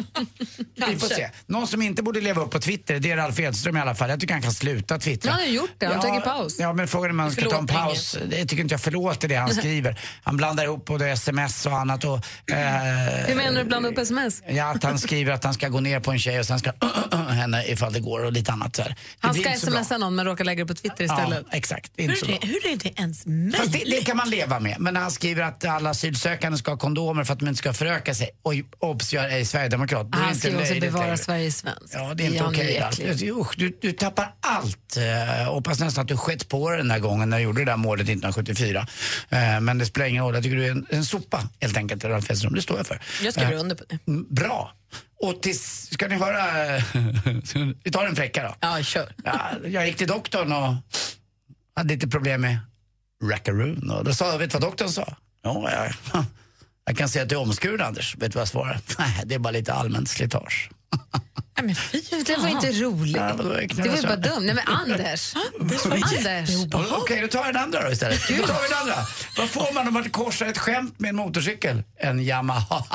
Vi får se. Någon som inte borde leva upp på Twitter, det är Ralf Edström i alla fall. Jag tycker han kan sluta twittra. Men han har gjort det, han har tagit paus. Ja, men frågan är om han ska ta en Förlåt, paus. Jag tycker inte jag förlåter det han skriver. Han blandar ihop både sms och annat. Och, eh, Hur menar du blanda upp sms? Ja, att han skriver att han ska gå ner på en tjej och sen ska henne ifall det går och lite annat. Så här. Det Han blir ska inte så bra. smsa någon men råkar lägga det på Twitter istället. Ja, exakt. Det är inte så Hur bra. är, det, hur är det ens möjligt? Fast det, det kan man leva med. Men när han skriver att alla asylsökande ska ha kondomer för att de inte ska föröka sig. Oj, obs, jag är sverigedemokrat. Det är Han inte skriver också löjligt bevara längre. Sverige svenskt. Ja, det är inte han okej. äcklig. alls. Usch, du, du tappar allt. Eh, hoppas nästan att du skett på dig den där gången när du gjorde det där målet 1974. Eh, men det spelar ingen roll. Jag tycker du är en, en sopa, helt enkelt, Ralf Edström. Det står jag för. Jag skriver Eh, under på det. Mm, Bra. Och tills, ska ni höra... eh, Vi tar en fräcka då. Ja, kör. Ja, jag gick till doktorn och hade lite problem med rackaroon. Och då sa jag, vet du vad doktorn sa? Ja, jag, jag kan säga att du är omskuren Anders. Vet du vad jag svarade? Nej, det är bara lite allmänt slitage. Nej, men fy, det var inte roligt. Ja, vadå, jag knullar det var ju så. bara dumt. Nej, men Anders. Anders. Okej, då tar jag den andra då istället. Då tar vi den andra. Vad får man om man korsar ett skämt med en motorcykel? En Yamaha.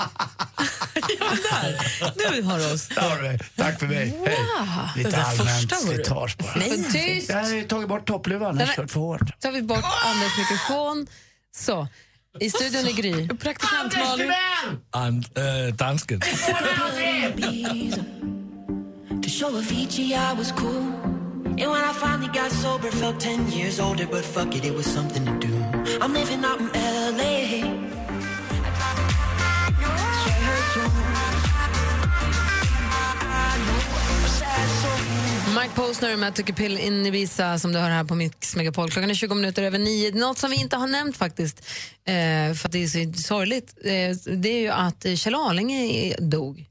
Nu har oss. Där har du mig. Tack för mig. Hej. Wow. Lite Den allmänt första var du. slitage bara. Nej. Tyst. Jag har ju tagit bort toppluvan. Jag har Nej, men- kört för hårt. Då tar vi bort Anders mikrofon. Så, i studion är Gry. Praktikant Malin. And, eh, dansken. To show Avicii I was cool. And when I finally got sober, felt 10 years older, but fuck it, it was something to do. I'm living out in LA. Mike Posner med Tucker Pill in Ibiza som du hör här på Mix Megapol. Klockan är 20 minuter över nio. Något som vi inte har nämnt faktiskt, eh, för att det är så sorgligt, eh, det är ju att eh, Kjell Arlinge dog.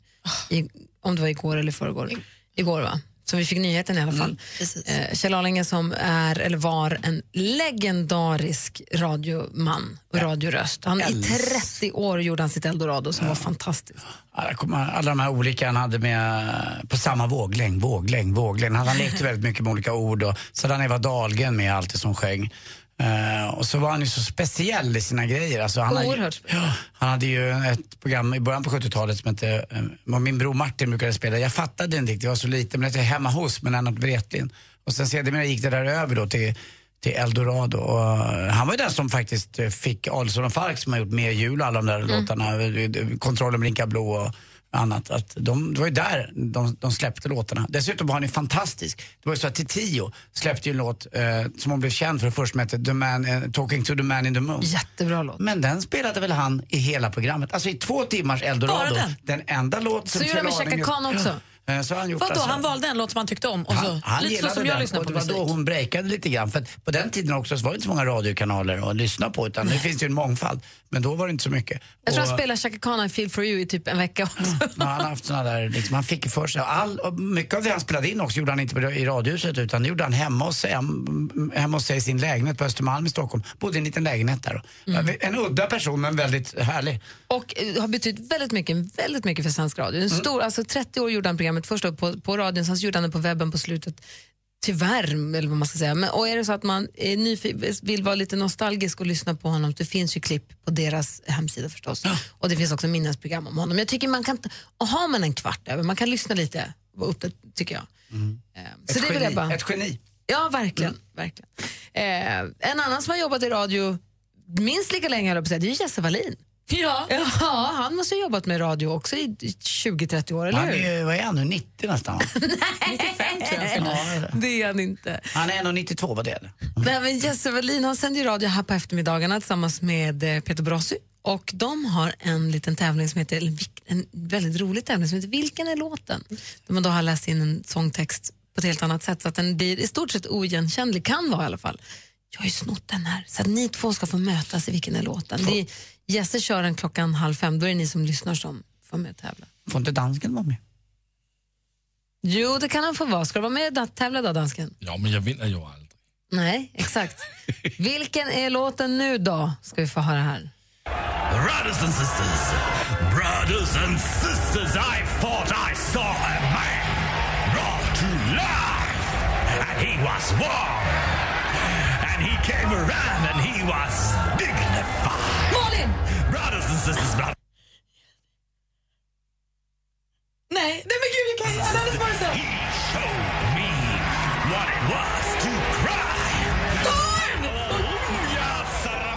I, om det var igår eller förrgår. Igår va? Som vi fick nyheten i alla Mm, fall. eh, Kjell Arlinge som är, eller var, en legendarisk radioman och radioröst. Han, I Älsk. 30 år gjorde han sitt eldorado som var fantastiskt. Alla, kom- alla de här olika han hade med eh, på samma våglängd, våglängd, våglängd. Han, han lekte väldigt mycket med olika ord och så hade han Eva Dahlgren med alltid som sjöng. Eh, och så var han ju så speciell i sina grejer. Alltså, han har ju- Oerhört speciell. Ja, han hade ju ett program i början på 70-talet som hette, eh, vad min bror Martin brukade spela. Jag fattade inte riktigt, jag var så liten, men det hette Hemma hos med Lennart Wretling. Och sen sedermera gick det där över då till, till Eldorado. Och eh, han var ju den som faktiskt eh, fick Adelsohn och Falk som har gjort Mer jul och alla de där låtarna. eh, eh, Kontrollen blinkar blå och annat. Att de, det var ju där de, de släppte låtarna. Dessutom var han ju fantastisk. Det var ju så att Tio släppte ju en låt eh, som hon blev känd för först som hette the man, eh, Talking to the man in the moon. Jättebra låt. Men den spelade väl han i hela programmet? Alltså i två timmars Eldorado. Bara den? enda låt som Så gjorde han med Kjell Arling Chaka Khan gjort. också? Ja. Eh, Så har han gjort Vadå, alltså. han valde en låt som han tyckte om och så, Han, han lite så gillade som jag den lyssnar och på det var musik. då hon breakade lite grann. För att på den tiden också så var det inte så många radiokanaler att lyssna på utan nu finns det ju en mångfald. Men då var det inte så mycket. Jag tror Och- Mm. han spelar Chaka Khan i Feel for you i typ en vecka också. Men han har haft såna där, liksom, han fick ju för sig. All, och mycket av det han spelade in också gjorde han inte på- i radiohuset utan det gjorde han hemma hos, sig, hem, hemma hos sig i sin lägenhet på Östermalm i Stockholm. Bodde i en liten lägenhet där. då. Mm. En udda person men väldigt härlig. och eh, har betytt väldigt mycket, väldigt mycket för svensk radio. En Mm. stor, alltså 30 år gjorde han programmet först då på, på radion, sen så gjorde han det på webben på slutet. Tyvärr, eller vad man ska säga. Men, och är det så att man är nyf- vill vara lite nostalgisk och lyssna på honom, det finns ju klipp på deras hemsida förstås. Och det finns också minnesprogram om honom. Jag tycker man kan, ta- och har man en kvart över, man kan lyssna lite upp det, tycker jag. Ehm, Så Mm. ett, det vill geni, jag bara- ett geni. Ja, verkligen. verkligen. Eh, en annan som har jobbat i radio minst lika länge, höll jag på att säga, det är ju Jesse Wallin. Ja. ja, han måste ha jobbat med radio också i 20-30 år, eller Han hur? är ju, vad är han nu, 90 nästan? va? det är han inte. Han är 1,92 vad det är. Nej, men Jesse Wallin han sänder ju radio här på eftermiddagarna tillsammans med eh, Peter Brossi. Och de har en liten tävling som heter, eller vilk- en väldigt rolig tävling som heter Vilken är låten? Där man då har läst in en sångtext på ett helt annat sätt så att den blir i stort sett oigenkännlig, kan vara i alla fall. Jag har ju snott den här, så att ni två ska få mötas i Vilken är låten? Det är, Jesse kör den klockan halv fem, då är det ni som lyssnar som får med och tävla. Får inte dansken vara med? Jo, det kan han få vara. Ska du vara med och da- tävla då, dansken? Ja, men jag vinner ju aldrig. Nej, exakt. Vilken är låten nu då? Ska vi få höra här. Brothers and sisters, brothers and sisters, I thought I saw a man brought to life, and he was warm, and he came around, and he was dignified. Malin! Brothers and sisters, brothers. Nej, nej men gud, jag kan Alanis Morissette.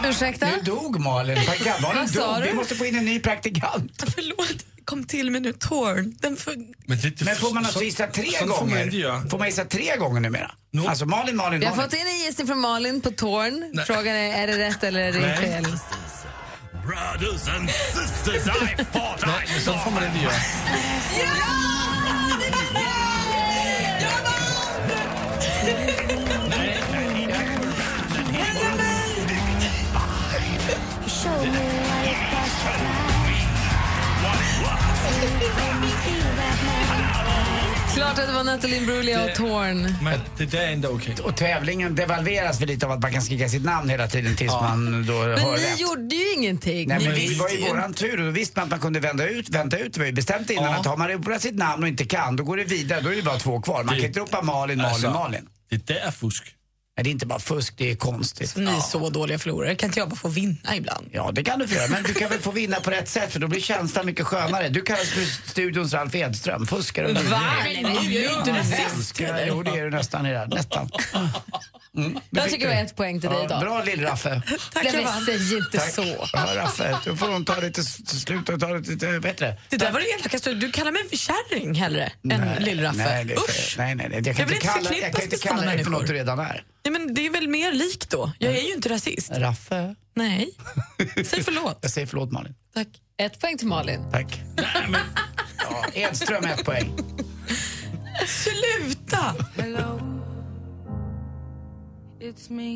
Ursäkta? Nu dog Malin. Praktikantmannen Vad sa dog. du? Vi måste få in en ny praktikant. Förlåt, kom till mig nu, Torn. Den för... Men, får man alltså gissa tre så- så får man inte gånger? göra. Får man gissa tre gånger numera? Alltså Malin, Malin, Vi har Malin. fått in en gissning från Malin på Torn. Nej. Frågan är, är det rätt eller är det Nej. fel? Brothers and sisters, I thought I Nej, saw så får man inte göra. Show Klart att det var Nathalie Brulia och Torn. Men det där är ändå okej. Och tävlingen devalveras väl lite av att man kan skrika sitt namn hela tiden tills man då Men hör ni rätt. gjorde ju ingenting. Nej, ni men vi visste var i ju. våran tur och då visste man att man kunde vända ut, vänta ut. Det var ju bestämt innan att har man ropat sitt namn och inte kan, då går det vidare. Då är det bara två kvar. Man kan inte ropa Malin, Malin, Alltså, Malin. Det där är fusk. Nej, det är inte bara fusk, det är konstigt. Ni är så dåliga förlorare. Kan inte jag bara få vinna ibland? Ja, det kan du få göra. Men du kan väl få vinna på rätt sätt för då blir känslan mycket skönare. Du kallas för studions Ralf Edström. Fuskare och Va? lurig. Nej, jag är ju inte Ja, rasist, hemska. Jo, det är du nästan. i det här. Nästan. Mm, det Jag fick tycker du. det var ett poäng till dig Ja, idag. Bra lill-Raffe. Tack, Nej, men säg inte Tack. så. Ja, Raffe, du får nog ta lite, sluta ta lite bättre. Det där var det elakaste. Du kallar mig för kärring hellre än Nej, lill-Raffe. det är för- Usch! Nej, nej, nej. Jag kan Jag inte vill inte kalla, jag förknippas kan inte med sådana kalla dig för något människor. du redan är. Nej, men det är väl mer likt då? Jag är ju inte rasist. Raffe. Nej. Säg förlåt. Jag säger förlåt, Malin. Tack. Ett poäng till Malin. Tack. Ja, Edström ett poäng. Sluta! Hello, it's me.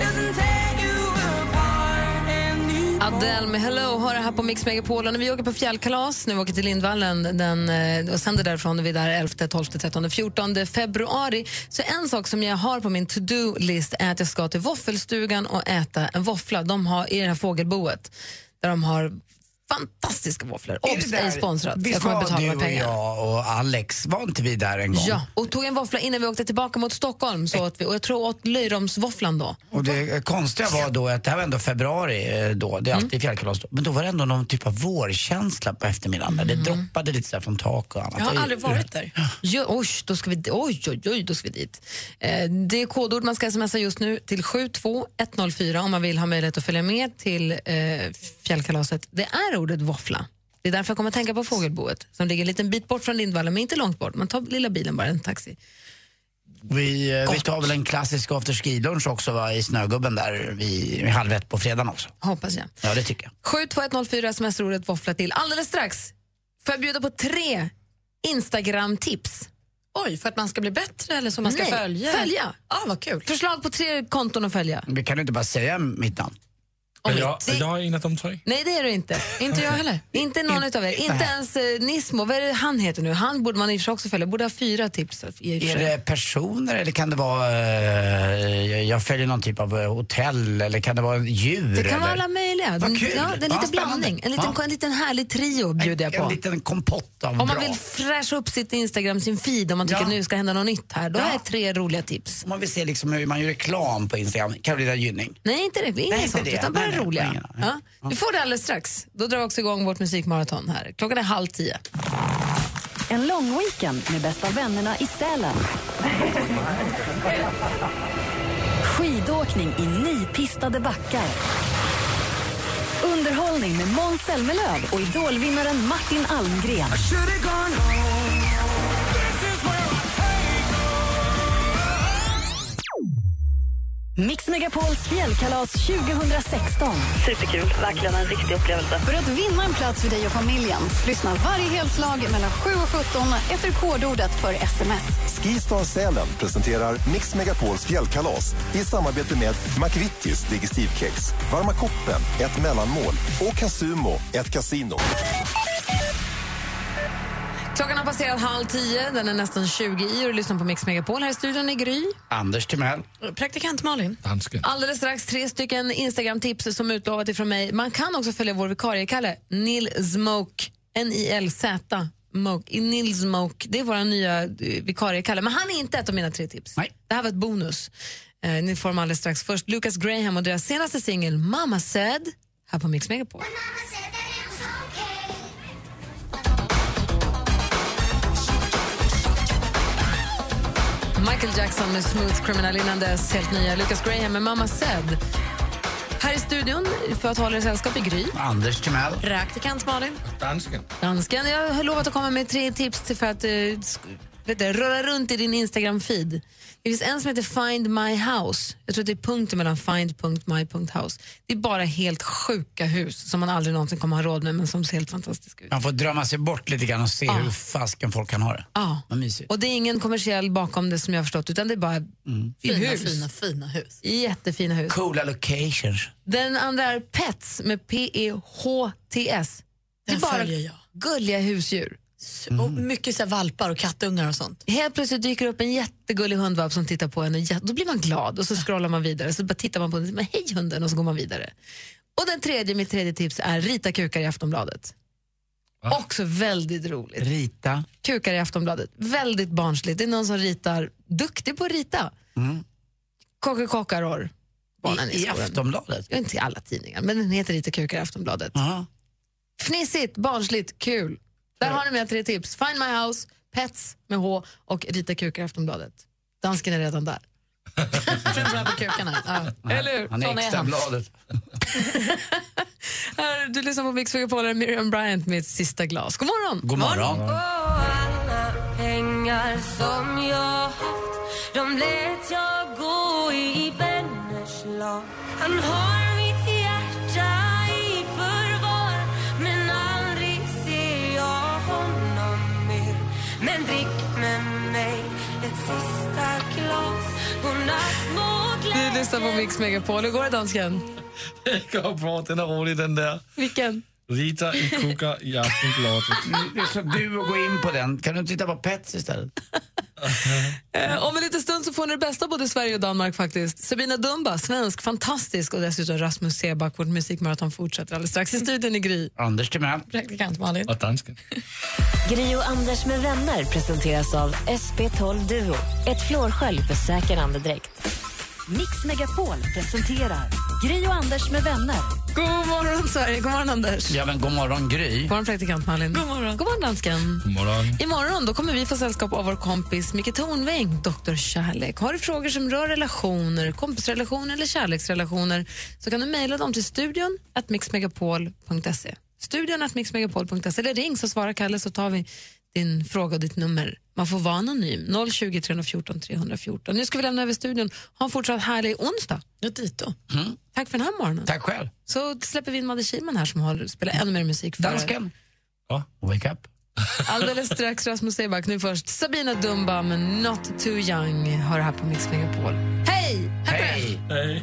Doesn't tear you apart anymore. Adele med Hello har det här på Mix Megapol. Och när vi åker på fjällkalas, när vi åker till Lindvallen den, eh, och sänder därifrån, och vi är där 11, 12, 13, 14 februari. Så en sak som jag har på min to-do-list är att jag ska till våffelstugan och äta en våffla. De har i det här fågelboet, där de har fantastiska våfflor. Är det Obs, ej där- sponsrat. Jag Visst kommer var betala du med och pengar. jag och Alex, var inte vi där en gång? Ja, och tog en våffla innan vi åkte tillbaka mot Stockholm. Så åt vi, och jag tror åt löjromsvåfflan då. Och det konstiga var då att det här var ändå februari eh, då, det är Mm. alltid fjällkalas då. Men då var det ändå någon typ av vårkänsla på eftermiddagen. där Det Mm. droppade lite så här från tak och annat. Det är- där. Jo, oj, då ska vi, di- oj, oj, oj, då ska vi dit. Eh, det är kodord man ska smsa just nu till 72104 om man vill ha möjlighet att följa med till eh, fjällkalaset. Det är ordet våffla. Det är därför jag kommer att tänka på fågelboet som ligger en liten bit bort från Lindvallen, men inte långt bort. Man tar lilla bilen bara, en taxi. Vi, eh, vi tar väl en klassisk afterski-lunch också va, i Snögubben där vid vid halv ett på fredagen också. Hoppas jag. Ja, det tycker jag. 72104 smsar ordet våffla till. Alldeles strax får jag bjuda på tre Instagram-tips. Oj, för att man ska bli bättre eller så man ska Nej, följa? följa. Ja, vad kul. Förslag på tre konton att följa. Vi kan ju inte bara säga mitt namn. Är jag, är jag en av de tre? Nej, det är du inte. Inte jag heller. Inte någon utav er. Inte Nej. ens eh, Nismo. Vad är det han heter nu? Han borde man i och för sig också följa. Borde ha fyra tips. I och för Är sig. det personer eller kan det vara, eh, jag- jag följer någon typ av eh, hotell eller kan det vara djur? Det kan vara eller? alla möjliga. Vad kul. Ja, det är Ja, lite spännande. blandning. En liten, Ja. en liten härlig trio bjuder jag En på. liten kompott av Om man bra. vill fräscha upp sitt Instagram, sin feed, om man tycker Ja. nu ska hända något nytt här, då är tre roliga tips. Om man vill se liksom hur man gör reklam på Instagram, Carolina Gynning. Nej, inte det. Inget inte sånt, det. utan Nej, bara nej, roliga. ingen Ja. Du får det alldeles strax. Då drar vi också igång vårt musikmaraton här. Klockan är halv tio. En lång weekend med bästa vännerna i Sälen. Skidåkning i nypistade backar. Underhållning med Måns Zelmerlöw och idolvinnaren Martin Almgren. Mix Megapols fjällkalas 2016. Superkul, verkligen en riktig upplevelse. För att vinna en plats för dig och familjen, lyssna varje helslag mellan 7 och 17 efter kodordet för sms. Skistar Sälen presenterar Mix Megapols fjällkalas i samarbete med McVittys Digestivkex, Varma koppen, ett mellanmål och Casumo, ett kasino. Klockan har passerat halv tio. Den är nästan 20 i och du lyssnar på Mix Megapol. Här i studion är Gry. Anders Timell. Praktikant Malin. Alldeles strax tre stycken Instagram-tips som utlovat ifrån mig. Man kan också följa vår vikarie Kalle, Nil Smoke, N-I-L-Z. Moke- Nil Smoke, det är vår nya eh, vikarie Kalle. Men han är inte ett av mina tre tips. Det här var ett bonus. Eh, ni får dem alldeles strax. Först Lucas Graham och deras senaste singel Mama Said här på Mix Megapol. Michael Jackson med Smooth Criminal innan dess, helt nya. Lucas Graham med Mama Said. Här i studion för att hålla er sällskap i Gry. Anders Timell. Praktikant Malin. Dansken. Dansken, jag har lovat att komma med tre tips till för att eh, sk- vet du, röra runt i din Instagram-feed. Det finns en som heter Find My House. Jag tror att det är punkten mellan find.my.house. Det är bara helt sjuka hus som man aldrig någonsin kommer ha råd med men som ser helt fantastiska ut. Man får drömma sig bort lite grann och se hur fasken folk kan ha det. Ja. Vad mysigt. Mm. Och det är ingen kommersiell bakom det som jag har förstått utan det är bara Fina, hus. fina, fina hus. jättefina hus. Coola locations. Den andra är E Pets med P-E-H-T-S. Det är Den bara följer jag. Mm. gulliga husdjur. Och mycket så här valpar och kattungar och sånt. Helt plötsligt dyker det upp en jättegullig hundvalp som tittar på en och jä- då blir man glad och så scrollar man vidare så bara tittar man på den och säger, "Men hej hunden och så går man vidare. Och den tredje, mitt tredje tips är rita kukar i Aftonbladet. Också väldigt roligt. Rita. Kukar i Aftonbladet. Väldigt barnsligt. Det är någon som ritar, duktig på att rita. Mm. Kåkar kåkar orr. Barnen I- i skolan. Aftonbladet? Ja, inte i alla tidningar, men den heter lite kukar i Aftonbladet. Fnissigt, barnsligt, kul. Där har ni mina tre tips. Find My House, Pets med H och Rita kukar i Aftonbladet. Dansken är redan där. Framförallt på kukarna. Ja. Eller hur? Han är Sån är han. extrabladet. Här, Du lyssnar på Mix Megapol och Miriam Bryant med ett sista glas. God morgon! God morgon. Och alla pengar som jag haft De lät jag gå i vänners lag Han har mitt hjärta i förvar Men aldrig ser jag honom mer Men drick med mig ett sista glas Godnatt må Du lyssnar på Mix Megapol. Hur går det, dansken? Det går bra, den är rolig den där. Vilken? Rita i kukar i Aftonbladet. Det är så du att gå in på den. Kan du inte titta på Pets istället? Eh, Om en liten stund så får ni det bästa av både Sverige och Danmark faktiskt. Sabina Dumba, svensk, fantastisk och dessutom Rasmus Seback, vårt musikmaraton fortsätter alldeles strax. I studion i Gry. Anders Timell. Praktikant Malin. Och dansken. Gri och Anders med vänner presenteras av SP12 Duo. Ett flårskölj för säker andedräkt. Mix Megapol presenterar Gri och Anders med vänner. God morgon, Sverige. God morgon, Anders. Ja, men god morgon Gry. God morgon, praktikant Malin. God morgon. God morgon, dansken. God morgon. Imorgon då kommer vi få sällskap av vår kompis Micke Tornving, Dr. Kärlek. Har du frågor som rör relationer, kompisrelationer eller kärleksrelationer så kan du mejla dem till studion at mixmegapol.se. Studion at mixmegapol.se eller ring så svarar Kalle så tar vi din fråga och ditt nummer. Man får vara anonym. 020 314 314. Nu ska vi lämna över studion. Ha en fortsatt härlig onsdag. Ja, dit då. Tack för den här morgonen. Mm. Tack själv. Så släpper vi in Madde Kihlman här som har spelat ännu mer musik för er. Dansken. Ja. Wake up. Alldeles strax Rasmus Seback. Nu först Sabina Dumba med Not Too Young. Hör det här på Mix Megapol. Hej! Hej! Hej.